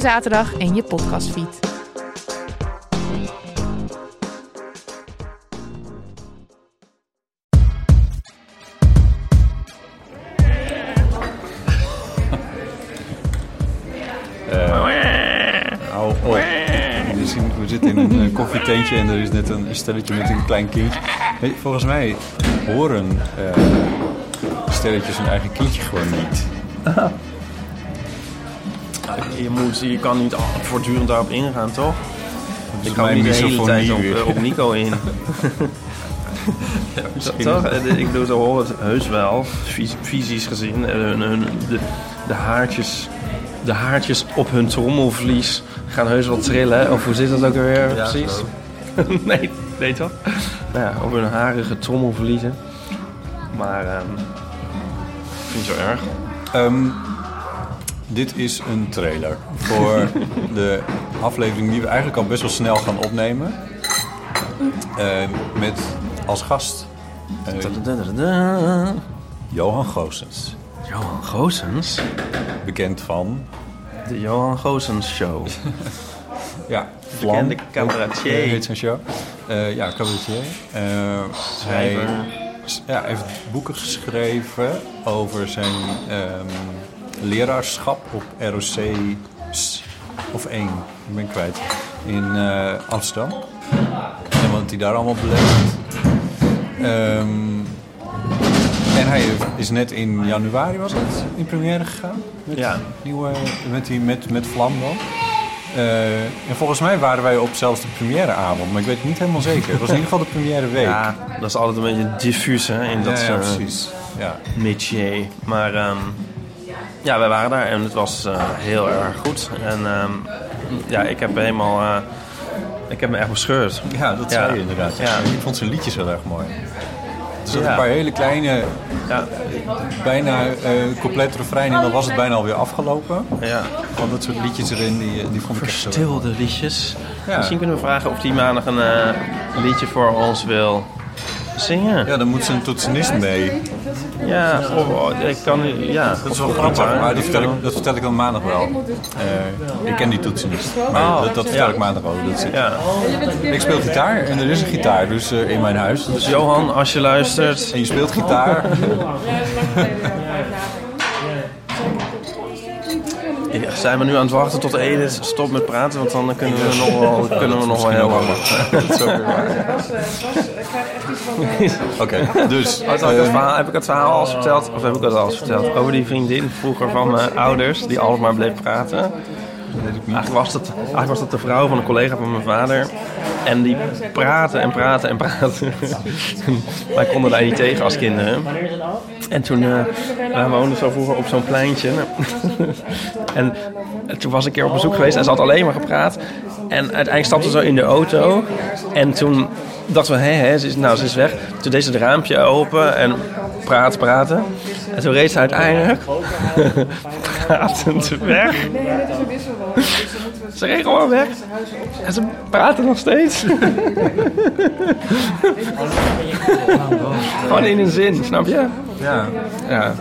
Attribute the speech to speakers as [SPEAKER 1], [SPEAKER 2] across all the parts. [SPEAKER 1] zaterdag in je podcastfeed.
[SPEAKER 2] Au, oh. We zien- we zitten in een eh, koffietentje en er is net een stelletje met een klein kindje. Weet je, volgens mij horen eh, stelletjes hun eigen kindje gewoon niet.
[SPEAKER 3] Je, moet, je kan niet al- voortdurend daarop ingaan, toch?
[SPEAKER 2] Dat is
[SPEAKER 3] Ik kan
[SPEAKER 2] mijn
[SPEAKER 3] niet de hele tijd
[SPEAKER 2] misofonie
[SPEAKER 3] op,
[SPEAKER 2] weer.
[SPEAKER 3] eh, op Nico in. Toch? toch? Eh, Ik bedoel, ze horen het heus wel, fys- fysisch gezien. Eh, hun- hun- de, de, haartjes, de haartjes op hun trommelvlies gaan heus wel trillen. Of hoe zit dat ook alweer precies? nee, nee toch? Nou ja, op hun harige trommelvliezen. Maar ehm niet zo erg.
[SPEAKER 2] Ehm, dit is een trailer voor de aflevering die we eigenlijk al best wel snel gaan opnemen. Eh, met als gast eh,
[SPEAKER 3] Da-da-da-da-da.
[SPEAKER 2] Johan Goosens.
[SPEAKER 3] Johan Goosens.
[SPEAKER 2] Bekend van...
[SPEAKER 3] De Johan Goosens Show.
[SPEAKER 2] Ja, Vlam.
[SPEAKER 3] Bekende cabaretier.
[SPEAKER 2] Hoe heet zijn show? Eh, ja, cabaretier. Eh, hij
[SPEAKER 3] Schrijver.
[SPEAKER 2] s- ja, hij heeft boeken geschreven over zijn ehm, leraarschap op ROC s- of 1, ik ben kwijt, in eh, Amsterdam. En wat hij daar allemaal beleeft. Ehm, en hij is net in januari, was het, in première gegaan? Met,
[SPEAKER 3] Ja.
[SPEAKER 2] nieuwe, met, die, met, met Vlam dan. Eh, en volgens mij waren wij op zelfs de premièreavond, maar ik weet het niet helemaal zeker. Het was in ieder geval de première week.
[SPEAKER 3] Ja, dat is altijd een beetje diffuus hè, in dat
[SPEAKER 2] ja,
[SPEAKER 3] soort
[SPEAKER 2] precies. Ja.
[SPEAKER 3] métier. Maar ehm, ja, wij waren daar en het was eh, heel erg goed. En ehm, ja, ik heb helemaal... eh, ik heb me echt bescheurd.
[SPEAKER 2] ja, dat zei je inderdaad.
[SPEAKER 3] Ja.
[SPEAKER 2] Ik vond zijn liedjes heel erg mooi. Er zaten
[SPEAKER 3] Ja.
[SPEAKER 2] een paar hele kleine,
[SPEAKER 3] Ja,
[SPEAKER 2] bijna eh compleet refrein en dan was het bijna alweer afgelopen.
[SPEAKER 3] ja.
[SPEAKER 2] Van dat soort liedjes erin, die, die vond ik echt zo...
[SPEAKER 3] Stilde liedjes.
[SPEAKER 2] Ja.
[SPEAKER 3] Misschien kunnen we vragen of die maandag een eh, liedje voor ons wil zingen.
[SPEAKER 2] Ja, dan moet ze een toetsenist mee.
[SPEAKER 3] Ja, oh, oh, ik kan... Ja,
[SPEAKER 2] Dat is wel grappig, maar die vertel ik, dat vertel ik dan maandag wel. Eh, ik ken die toetsenist, maar
[SPEAKER 3] Oh.
[SPEAKER 2] dat, dat vertel
[SPEAKER 3] Ja.
[SPEAKER 2] ik maandag wel hoe dat zit.
[SPEAKER 3] Ja.
[SPEAKER 2] Ik speel gitaar en er is een gitaar dus eh, in mijn huis. Dus
[SPEAKER 3] Johan, als je luistert,
[SPEAKER 2] En je speelt gitaar.
[SPEAKER 3] Ja, zijn we nu aan het wachten tot Edith stopt met praten, want dan kunnen we nog wel, kunnen we nog wel heel lang wachten.
[SPEAKER 2] Dat eh, is ook weer waar. Oké, dus.
[SPEAKER 3] Had ik het
[SPEAKER 2] eh,
[SPEAKER 3] verhaal- Heb ik het verhaal al eens verteld? Of heb ik het al eens verteld? Over die vriendin vroeger van mijn ouders, die altijd maar bleef praten. Eigenlijk was, dat, eigenlijk was dat de vrouw van een collega van mijn vader. En die praten en praten en praten. Wij konden daar niet tegen als kinderen. En toen, eh wij woonden zo vroeger op zo'n pleintje. en toen was ik een keer op bezoek geweest en ze had alleen maar gepraat. En uiteindelijk stapte ze zo in de auto. En toen dachten we, hé, hé, ze is, nou, ze is weg. Toen deed ze het raampje open en praat, praten. En toen reed ze uiteindelijk pratend weg. Ze reed gewoon weg. En ze praten nog steeds. Gewoon in een zin, snap je?
[SPEAKER 2] ja.
[SPEAKER 3] Ja.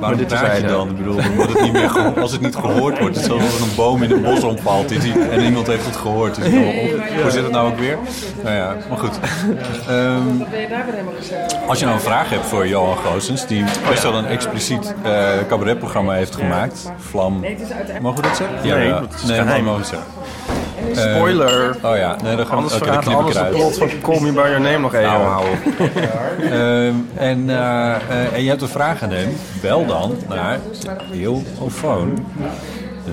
[SPEAKER 3] Maar
[SPEAKER 2] Waarom
[SPEAKER 3] dit
[SPEAKER 2] praat je
[SPEAKER 3] terzijde.
[SPEAKER 2] dan? Ik bedoel, omdat het niet meer geho- als het niet gehoord wordt. Het is alsof er een boom in een bos omvalt is die- en iemand heeft het gehoord. Is het allemaal op- Hoe zit het nou ook weer? Nou ja, maar goed. Ehm, als je nou een vraag hebt voor Johan Goossens, die best wel een expliciet eh, cabaretprogramma heeft gemaakt. Vlam. Mogen we dat zeggen?
[SPEAKER 3] Nee,
[SPEAKER 2] ja.
[SPEAKER 3] dat is
[SPEAKER 2] nee,
[SPEAKER 3] geheim.
[SPEAKER 2] mogen we het zeggen.
[SPEAKER 3] Spoiler.
[SPEAKER 2] Oh ja, nee, dan gaan we
[SPEAKER 3] Anders
[SPEAKER 2] oké, dan
[SPEAKER 3] verraadt
[SPEAKER 2] knip ik
[SPEAKER 3] alles het
[SPEAKER 2] eruit.
[SPEAKER 3] plot van Call Me By Your Name nog even.
[SPEAKER 2] Nou,
[SPEAKER 3] houden.
[SPEAKER 2] Ehm, en, eh, eh, en je hebt een vraag aan hem, bel dan naar Eelofoon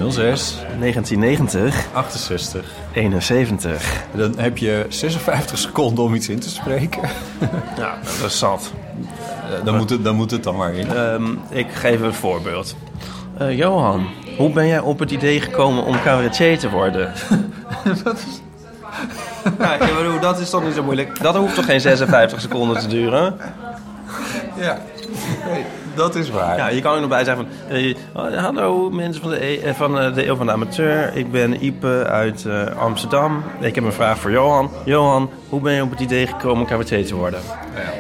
[SPEAKER 2] 06
[SPEAKER 3] 1990,
[SPEAKER 2] 68.
[SPEAKER 3] 71.
[SPEAKER 2] Dan heb je 56 seconden om iets in te spreken.
[SPEAKER 3] Ja, dat is zat.
[SPEAKER 2] Eh, Dan moet het dan, moet het dan maar in.
[SPEAKER 3] Ehm, ik geef een voorbeeld. Eh, Johan, hoe ben jij op het idee gekomen om cabaretier te worden? Ja, ik bedoel, dat is toch niet zo moeilijk? Dat hoeft toch geen 56 seconden te duren?
[SPEAKER 2] Ja, Nee, dat is waar.
[SPEAKER 3] Ja, je kan er nog bij zeggen van... eh, oh, hallo mensen van de, E- eh, van eh, de Eeuw van de Amateur. Ik ben Ipe uit eh, Amsterdam. Ik heb een vraag voor Johan. Johan, hoe ben je op het idee gekomen om cabaretier te worden?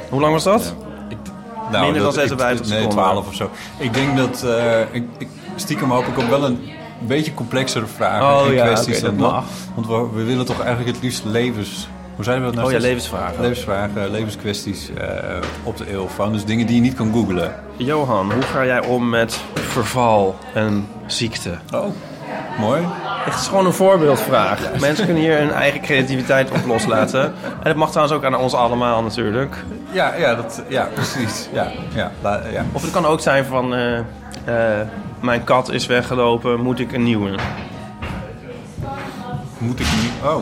[SPEAKER 3] Hoe lang was dat?
[SPEAKER 2] Ik-
[SPEAKER 3] Minder dan
[SPEAKER 2] Nou, dat- ik-
[SPEAKER 3] 56
[SPEAKER 2] Nee,
[SPEAKER 3] seconden.
[SPEAKER 2] 12 of zo. Ik denk dat... eh, ik, ik, stiekem hoop ik op wel een beetje complexere vragen
[SPEAKER 3] Oh
[SPEAKER 2] en
[SPEAKER 3] ja,
[SPEAKER 2] kwesties
[SPEAKER 3] oké,
[SPEAKER 2] dan
[SPEAKER 3] dat
[SPEAKER 2] dat.
[SPEAKER 3] mag.
[SPEAKER 2] Want we, we willen toch eigenlijk het liefst levens... Hoe zijn we dat nou?
[SPEAKER 3] Oh ja,
[SPEAKER 2] steeds?
[SPEAKER 3] levensvragen.
[SPEAKER 2] Levensvragen, levenskwesties eh, op de eeuwfoon. Dus dingen die je niet kan googlen.
[SPEAKER 3] Johan, hoe ga jij om met verval en ziekte?
[SPEAKER 2] Oh, mooi.
[SPEAKER 3] Echt, het is gewoon een voorbeeldvraag. Mensen kunnen hier hun eigen creativiteit op loslaten. En dat mag trouwens ook aan ons allemaal natuurlijk.
[SPEAKER 2] Ja, ja, dat, ja precies. Ja, ja, la- ja.
[SPEAKER 3] Of het kan ook zijn van... eh, eh, mijn kat is weggelopen, moet ik een nieuwe?
[SPEAKER 2] Moet ik niet... Oh.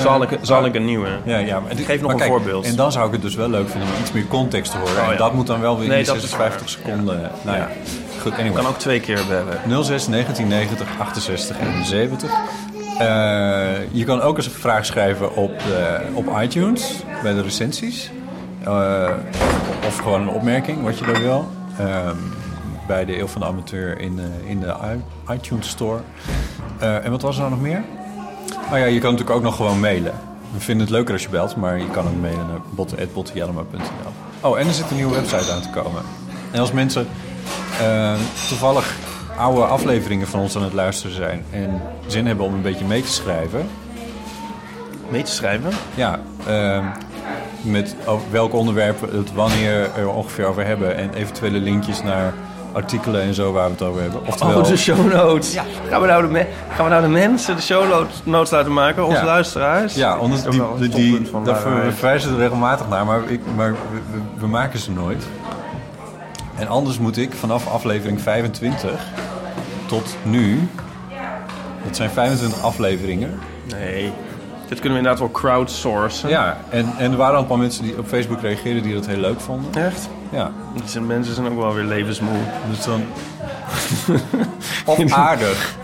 [SPEAKER 3] Zal ik, zal ik een nieuwe?
[SPEAKER 2] Ja, ja, maar dit-
[SPEAKER 3] Geef
[SPEAKER 2] maar
[SPEAKER 3] nog een
[SPEAKER 2] kijk,
[SPEAKER 3] voorbeeld.
[SPEAKER 2] En dan zou ik het dus wel leuk vinden om iets meer context te horen.
[SPEAKER 3] Oh, ja.
[SPEAKER 2] En dat moet dan wel weer
[SPEAKER 3] Nee,
[SPEAKER 2] in die
[SPEAKER 3] dat is
[SPEAKER 2] 56 seconden. Nou ja, goed,
[SPEAKER 3] Ik kan
[SPEAKER 2] anyway.
[SPEAKER 3] ook twee keer eh, bellen.
[SPEAKER 2] 06 1990 68 en 70. Eh, je kan ook eens een vraag schrijven op, eh, op iTunes bij de recensies. Eh, of gewoon een opmerking, wat je dan wil. Ehm, bij de Eeuw van de Amateur in, eh, in de i- iTunes Store. Eh, en wat was er nou nog meer? Oh ja, je kan natuurlijk ook nog gewoon mailen. We vinden het leuker als je belt, maar je kan ook mailen naar botte.bottejellema.nl. Oh, en er zit een nieuwe website aan te komen. En als mensen eh, toevallig oude afleveringen van ons aan het luisteren zijn en zin hebben om een beetje mee te schrijven,
[SPEAKER 3] Mee te
[SPEAKER 2] Oh,
[SPEAKER 3] schrijven?
[SPEAKER 2] ja, ehm, met over welk onderwerp we het wanneer er ongeveer over hebben en eventuele linkjes naar artikelen en zo waar we het over hebben. Oftewel,
[SPEAKER 3] Oh, de show notes. Gaan, we nou de me- gaan we nou de mensen de show notes- notes laten maken? Onze
[SPEAKER 2] Ja.
[SPEAKER 3] luisteraars?
[SPEAKER 2] Ja,
[SPEAKER 3] anders
[SPEAKER 2] anders die, die, die- daar ver-
[SPEAKER 3] eh,
[SPEAKER 2] we verwijzen er regelmatig naar, maar, ik, maar we, we- we maken ze nooit. En anders moet ik vanaf aflevering 25 tot nu, dat zijn 25 afleveringen.
[SPEAKER 3] Nee. Dit kunnen we inderdaad wel crowdsourcen.
[SPEAKER 2] Ja, en, en er waren al een paar mensen die op Facebook reageerden die dat heel leuk vonden.
[SPEAKER 3] Echt?
[SPEAKER 2] Ja,
[SPEAKER 3] Die zijn- mensen zijn ook wel weer levensmoe.
[SPEAKER 2] dus dan... Of aardig.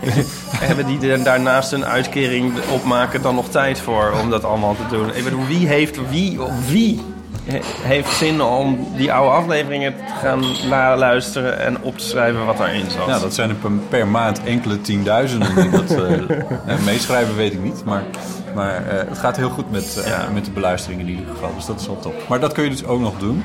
[SPEAKER 3] Hebben die er daarnaast een uitkering opmaken dan nog tijd voor om dat allemaal te doen? Ik bedoel, wie heeft, wie, wie he- heeft zin om die oude afleveringen te gaan la- luisteren en op te schrijven wat daarin zat?
[SPEAKER 2] Ja, dat zijn er per, per maand enkele tienduizenden die dat eh, eh, meeschrijven, weet ik niet. Maar, maar eh, het gaat heel goed met, eh,
[SPEAKER 3] Ja.
[SPEAKER 2] met de beluistering in ieder geval. Dus dat is wel top. Maar dat kun je dus ook nog doen.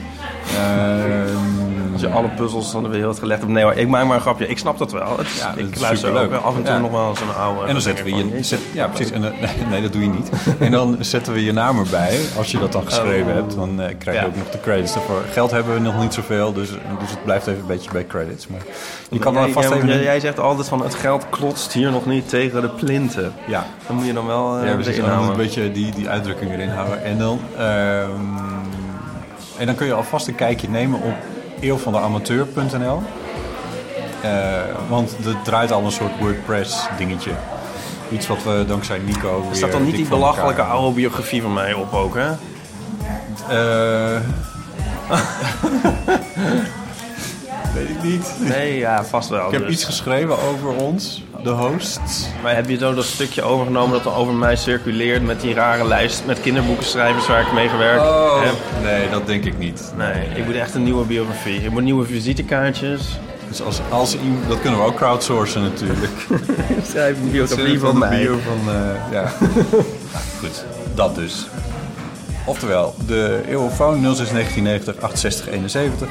[SPEAKER 2] Ehm,
[SPEAKER 3] Als je alle puzzels van de wereld gelegd hebt. Nee hoor, ik maak maar een grapje. Ik snap dat wel. Het is-
[SPEAKER 2] Ja, dat
[SPEAKER 3] ik
[SPEAKER 2] is
[SPEAKER 3] luister ook
[SPEAKER 2] superleuk.
[SPEAKER 3] wel af en toe
[SPEAKER 2] Ja.
[SPEAKER 3] nog wel eens een oude...
[SPEAKER 2] en dan zetten we je... zet- ja, precies. En, dan- nee, dat doe je niet. En dan zetten we je naam erbij. Als je dat dan geschreven hebt, dan eh, krijg je
[SPEAKER 3] Oh. Ja.
[SPEAKER 2] ook nog de credits daarvoor. Geld hebben we nog niet zoveel, dus, dus het blijft even een beetje bij credits. Maar je kan
[SPEAKER 3] jij,
[SPEAKER 2] dan vast
[SPEAKER 3] jij-
[SPEAKER 2] even...
[SPEAKER 3] jij zegt altijd van het geld klotst hier nog niet tegen de plinten.
[SPEAKER 2] Ja,
[SPEAKER 3] Dan moet je dan wel eh
[SPEAKER 2] Ja, precies.
[SPEAKER 3] erin
[SPEAKER 2] Dan moet
[SPEAKER 3] houden.
[SPEAKER 2] een beetje die, die uitdrukking erin houden. En dan, ehm, en dan kun je alvast een kijkje nemen op eeuwvandeamateur.nl. Eh want dat draait al een soort WordPress dingetje. Iets wat we dankzij Nico
[SPEAKER 3] Er staat dan niet die belachelijke oude biografie van mij op ook, hè?
[SPEAKER 2] Eh, Weet ik niet.
[SPEAKER 3] Nee, ja, vast wel.
[SPEAKER 2] Ik heb
[SPEAKER 3] dus.
[SPEAKER 2] iets geschreven over ons, de hosts.
[SPEAKER 3] Maar heb je zo dat stukje overgenomen dat er over mij circuleert met die rare lijst met kinderboekenschrijvers waar ik mee gewerkt
[SPEAKER 2] Oh.
[SPEAKER 3] heb?
[SPEAKER 2] Nee, dat denk ik niet.
[SPEAKER 3] Nee, ik moet echt een nieuwe biografie. Ik moet nieuwe visitekaartjes.
[SPEAKER 2] Dus als, als, iemand- dat kunnen we ook crowdsourcen natuurlijk.
[SPEAKER 3] Schrijf een
[SPEAKER 2] Zullen we van de bio van, eh, ja. Nou, Goed, dat dus. Oftewel, de Eurofoon 06 1990 68 71.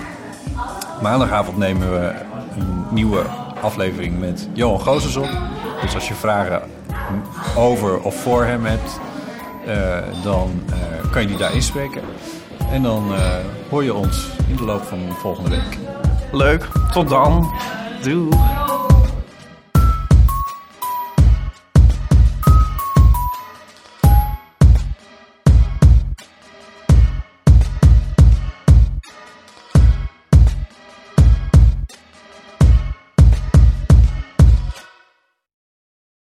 [SPEAKER 2] Maandagavond nemen we een nieuwe aflevering met Johan Gozes op. Dus als je vragen over of voor hem hebt, eh, dan eh, kan je die daar inspreken. En dan eh, hoor je ons in de loop van volgende week.
[SPEAKER 3] Leuk, tot dan. Doei.